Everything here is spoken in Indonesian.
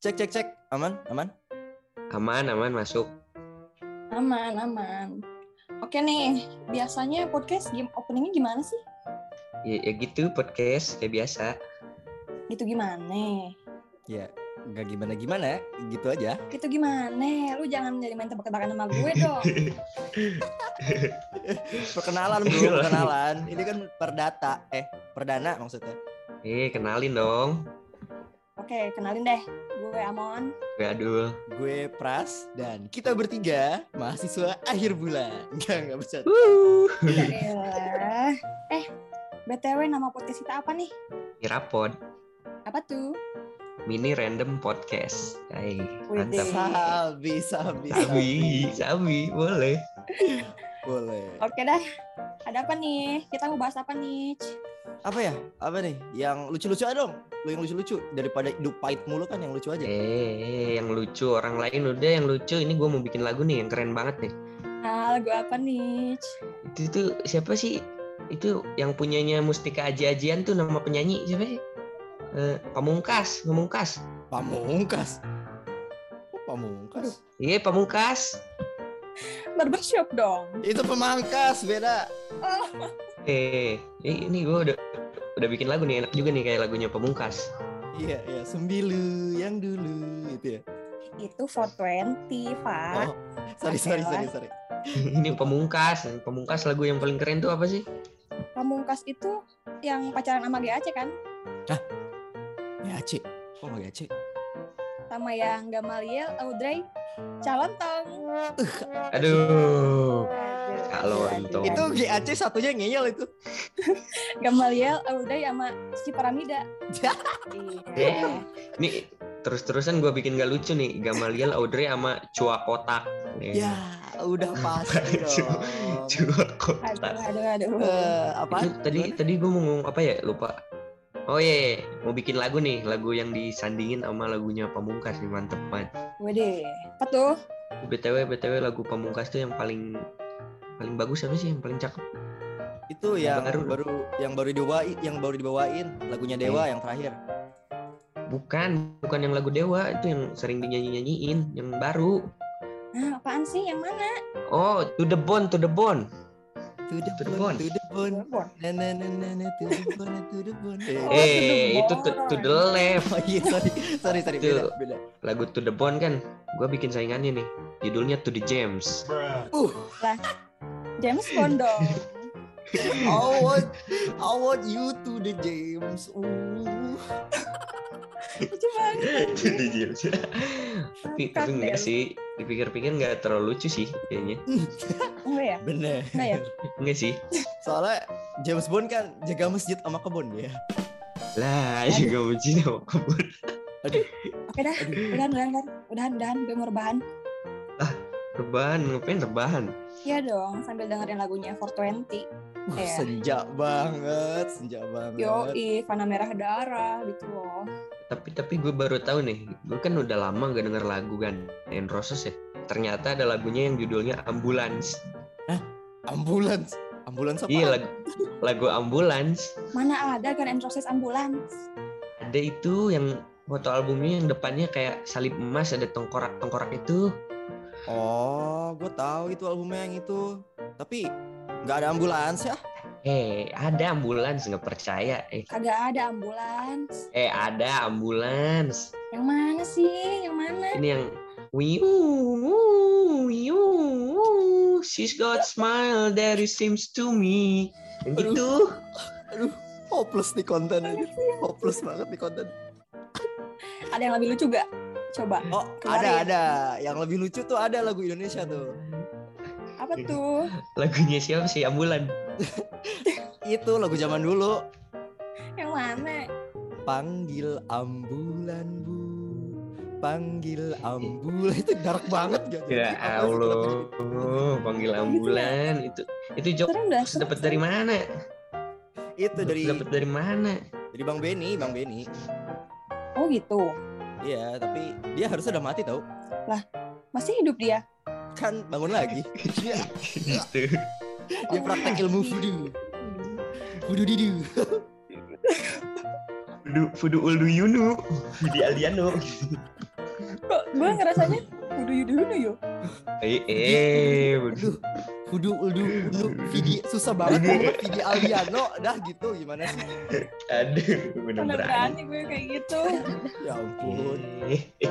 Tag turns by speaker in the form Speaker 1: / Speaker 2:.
Speaker 1: Cek cek cek. Aman, aman.
Speaker 2: Aman, aman masuk.
Speaker 3: Aman, aman. Oke nih, biasanya podcast game openingnya gimana sih?
Speaker 2: Ya, ya gitu podcast kayak biasa.
Speaker 3: Gitu gimana?
Speaker 1: Ya, nggak gimana gimana ya. Gitu aja.
Speaker 3: Gitu gimana? Lu jangan jadi main tebak-tebakan sama gue dong.
Speaker 1: Perkenalan bro, perkenalan. Ini kan perdata, eh perdana maksudnya.
Speaker 2: Eh kenalin dong.
Speaker 3: Oke, kenalin deh. Gue Amon.
Speaker 2: Gue Adul.
Speaker 1: Gue Pras dan kita bertiga mahasiswa akhir bulan. Enggak enggak bisa.
Speaker 2: Wuh.
Speaker 3: Ya elah. Eh, BTW nama podcast kita apa nih?
Speaker 2: Mirapod.
Speaker 3: Apa tuh?
Speaker 2: Mini Random Podcast. Hai,
Speaker 3: Widih.
Speaker 2: mantap.
Speaker 1: Sabi, sabi,
Speaker 2: Sabi, sabi, boleh.
Speaker 1: Boleh.
Speaker 3: Oke dah. Ada apa nih? Kita mau bahas apa nih? Ci?
Speaker 1: Apa ya? Apa nih? Yang lucu-lucu aja dong. Lu yang lucu-lucu daripada hidup pahit mulu kan yang lucu aja.
Speaker 2: Eh, yang lucu orang lain udah yang lucu. Ini gue mau bikin lagu nih yang keren banget nih.
Speaker 3: Ah, lagu apa nih? Ci?
Speaker 2: Itu tuh siapa sih? Itu yang punyanya Mustika Aji-ajian tuh nama penyanyi siapa sih? Eh, pamungkas, pamungkas.
Speaker 1: Pamungkas. Kok pamungkas?
Speaker 2: Iya, pamungkas.
Speaker 3: Barbershop dong.
Speaker 1: Itu pemangkas beda.
Speaker 2: Eh, ini, ini gue udah udah bikin lagu nih enak juga nih kayak lagunya Pemungkas.
Speaker 1: Iya, iya, sembilu yang dulu gitu ya.
Speaker 3: Itu 420, Pak.
Speaker 1: Oh, sorry, sorry, sorry, sorry.
Speaker 2: ini Pemungkas, Pemungkas lagu yang paling keren tuh apa sih?
Speaker 3: Pamungkas itu yang pacaran sama GAC kan?
Speaker 1: Gace. Kok nggak gace?
Speaker 3: Sama yang Gamaliel, Audrey, Calon Tong.
Speaker 2: Aduh, Calon Tong.
Speaker 1: Iya, Itu GAC satunya ngeyel itu.
Speaker 3: Gamaliel, Audrey sama si Paramida.
Speaker 1: Iya.
Speaker 3: Iya.
Speaker 2: Damn. ini terus-terusan gue bikin gak lucu nih Gamaliel, Audrey sama Cua Kotak.
Speaker 1: Ya, udah pasti dong.
Speaker 2: Cua
Speaker 3: Aduh,
Speaker 2: Kotak.
Speaker 3: aduh, aduh.
Speaker 1: Eh,
Speaker 2: Itu
Speaker 1: apa?
Speaker 2: tadi tadi gue mau ngomong apa ya? Lupa. Oh iya, iya. mau bikin lagu nih, lagu yang disandingin sama lagunya Pamungkas nih mantep banget.
Speaker 3: Wede. Apa tuh?
Speaker 2: BTW BTW lagu Pamungkas tuh yang paling paling bagus apa sih yang paling cakep?
Speaker 1: Itu yang
Speaker 2: Baru.
Speaker 1: baru yang baru dibawain, yang baru dibawain lagunya Dewa yang terakhir.
Speaker 2: Bukan, bukan yang lagu Dewa itu yang sering dinyanyi-nyanyiin, yang baru.
Speaker 3: Nah, apaan sih? Yang mana?
Speaker 2: Oh, To The Bone, To The Bone.
Speaker 1: To the
Speaker 2: To the
Speaker 1: bone,
Speaker 2: bone.
Speaker 1: to the bone.
Speaker 3: Cirebon.
Speaker 1: Na na na na na to the bone, to the bone.
Speaker 3: Oh,
Speaker 1: Eh,
Speaker 2: eh,
Speaker 3: To The
Speaker 2: itu to,
Speaker 3: Bone.
Speaker 2: To The Left.
Speaker 1: Oh iya, sorry, sorry, sorry,
Speaker 2: Itu.
Speaker 1: beda, beda.
Speaker 2: Lagu To The Bone kan, gue bikin saingannya nih. Judulnya To The James.
Speaker 1: Uh,
Speaker 3: James Bond dong.
Speaker 1: I want, I want you to the James. Uh.
Speaker 3: Lucu banget.
Speaker 2: to The James. tapi, tapi enggak sih, dipikir-pikir nggak terlalu lucu sih kayaknya.
Speaker 3: Enggak ya?
Speaker 1: Bener.
Speaker 3: Enggak ya?
Speaker 2: Enggak sih.
Speaker 1: Soalnya James Bond kan jaga masjid sama kebun ya.
Speaker 2: Lah, juga benci sama kebun.
Speaker 3: Oke dah. Udahan, udahan, udahan. Udahan, udahan. Gue mau rebahan.
Speaker 2: Rebahan, ngapain rebahan?
Speaker 3: Iya dong, sambil dengerin lagunya 420.
Speaker 1: Uh,
Speaker 3: Iya.
Speaker 1: senja banget, senja banget.
Speaker 3: Yoi, Fana Merah Darah gitu loh.
Speaker 2: tapi tapi gue baru tahu nih gue kan udah lama gak denger lagu kan And Roses ya ternyata ada lagunya yang judulnya Ambulance
Speaker 1: Ambulans. Ambulans apa?
Speaker 2: iya lagu lagu Ambulance
Speaker 3: Mana ada Guns N' Roses Ambulance?
Speaker 2: ada itu yang foto albumnya yang depannya kayak salib emas ada tengkorak tengkorak itu
Speaker 1: Oh, gue tahu itu albumnya yang itu. Tapi nggak ada ambulans ya?
Speaker 2: eh ada Ambulance nggak percaya eh
Speaker 3: Kagak ada ambulans.
Speaker 2: eh ada Ambulance
Speaker 3: Yang mana sih? Yang mana?
Speaker 2: ini yang wiu wiu she's got smile that it seems to me yang gitu.
Speaker 1: Aduh.
Speaker 2: itu
Speaker 1: Hopeless di konten aja. Hopeless banget di konten.
Speaker 3: Ada yang lebih lucu gak? Coba.
Speaker 1: Oh, ada
Speaker 3: Kemarin.
Speaker 1: ada. Yang lebih lucu tuh ada lagu Indonesia tuh.
Speaker 3: Apa tuh?
Speaker 2: lagunya siapa sih Ambulan
Speaker 1: Itu lagu zaman dulu.
Speaker 3: Yang mana?
Speaker 1: Panggil ambulan bu. Panggil ambulan itu dark banget gitu. gak?
Speaker 2: Ya Allah, Oh, panggil ambulan itu itu jokes
Speaker 3: Serem dah. serem,
Speaker 2: dapat dari mana?
Speaker 1: Itu dari
Speaker 2: dapat dari mana?
Speaker 1: dari Bang Benny, Bang Benny.
Speaker 3: serem. Oh gitu.
Speaker 1: Iya, tapi dia harusnya udah mati tau.
Speaker 3: Masih hidup dia?
Speaker 1: Kan bangun lagi. Dia,
Speaker 2: Gitu.
Speaker 1: dia praktek
Speaker 3: Oh,
Speaker 1: ilmu
Speaker 3: iya.
Speaker 1: voodoo. Voodoo didu.
Speaker 2: Fudu Fudu Uldu Yunu, Fudi Aliano.
Speaker 3: Kok gue ngerasanya kudu yudu yudu yo.
Speaker 2: Eh, eh,
Speaker 1: Aduh, kudu udu udu Vidi susah banget ngomong Vidi Aldiano dah gitu gimana sih?
Speaker 2: aduh, bener
Speaker 3: Karena
Speaker 2: berani.
Speaker 3: berani gue kayak gitu.
Speaker 1: Ya ampun.
Speaker 2: Eh, eh,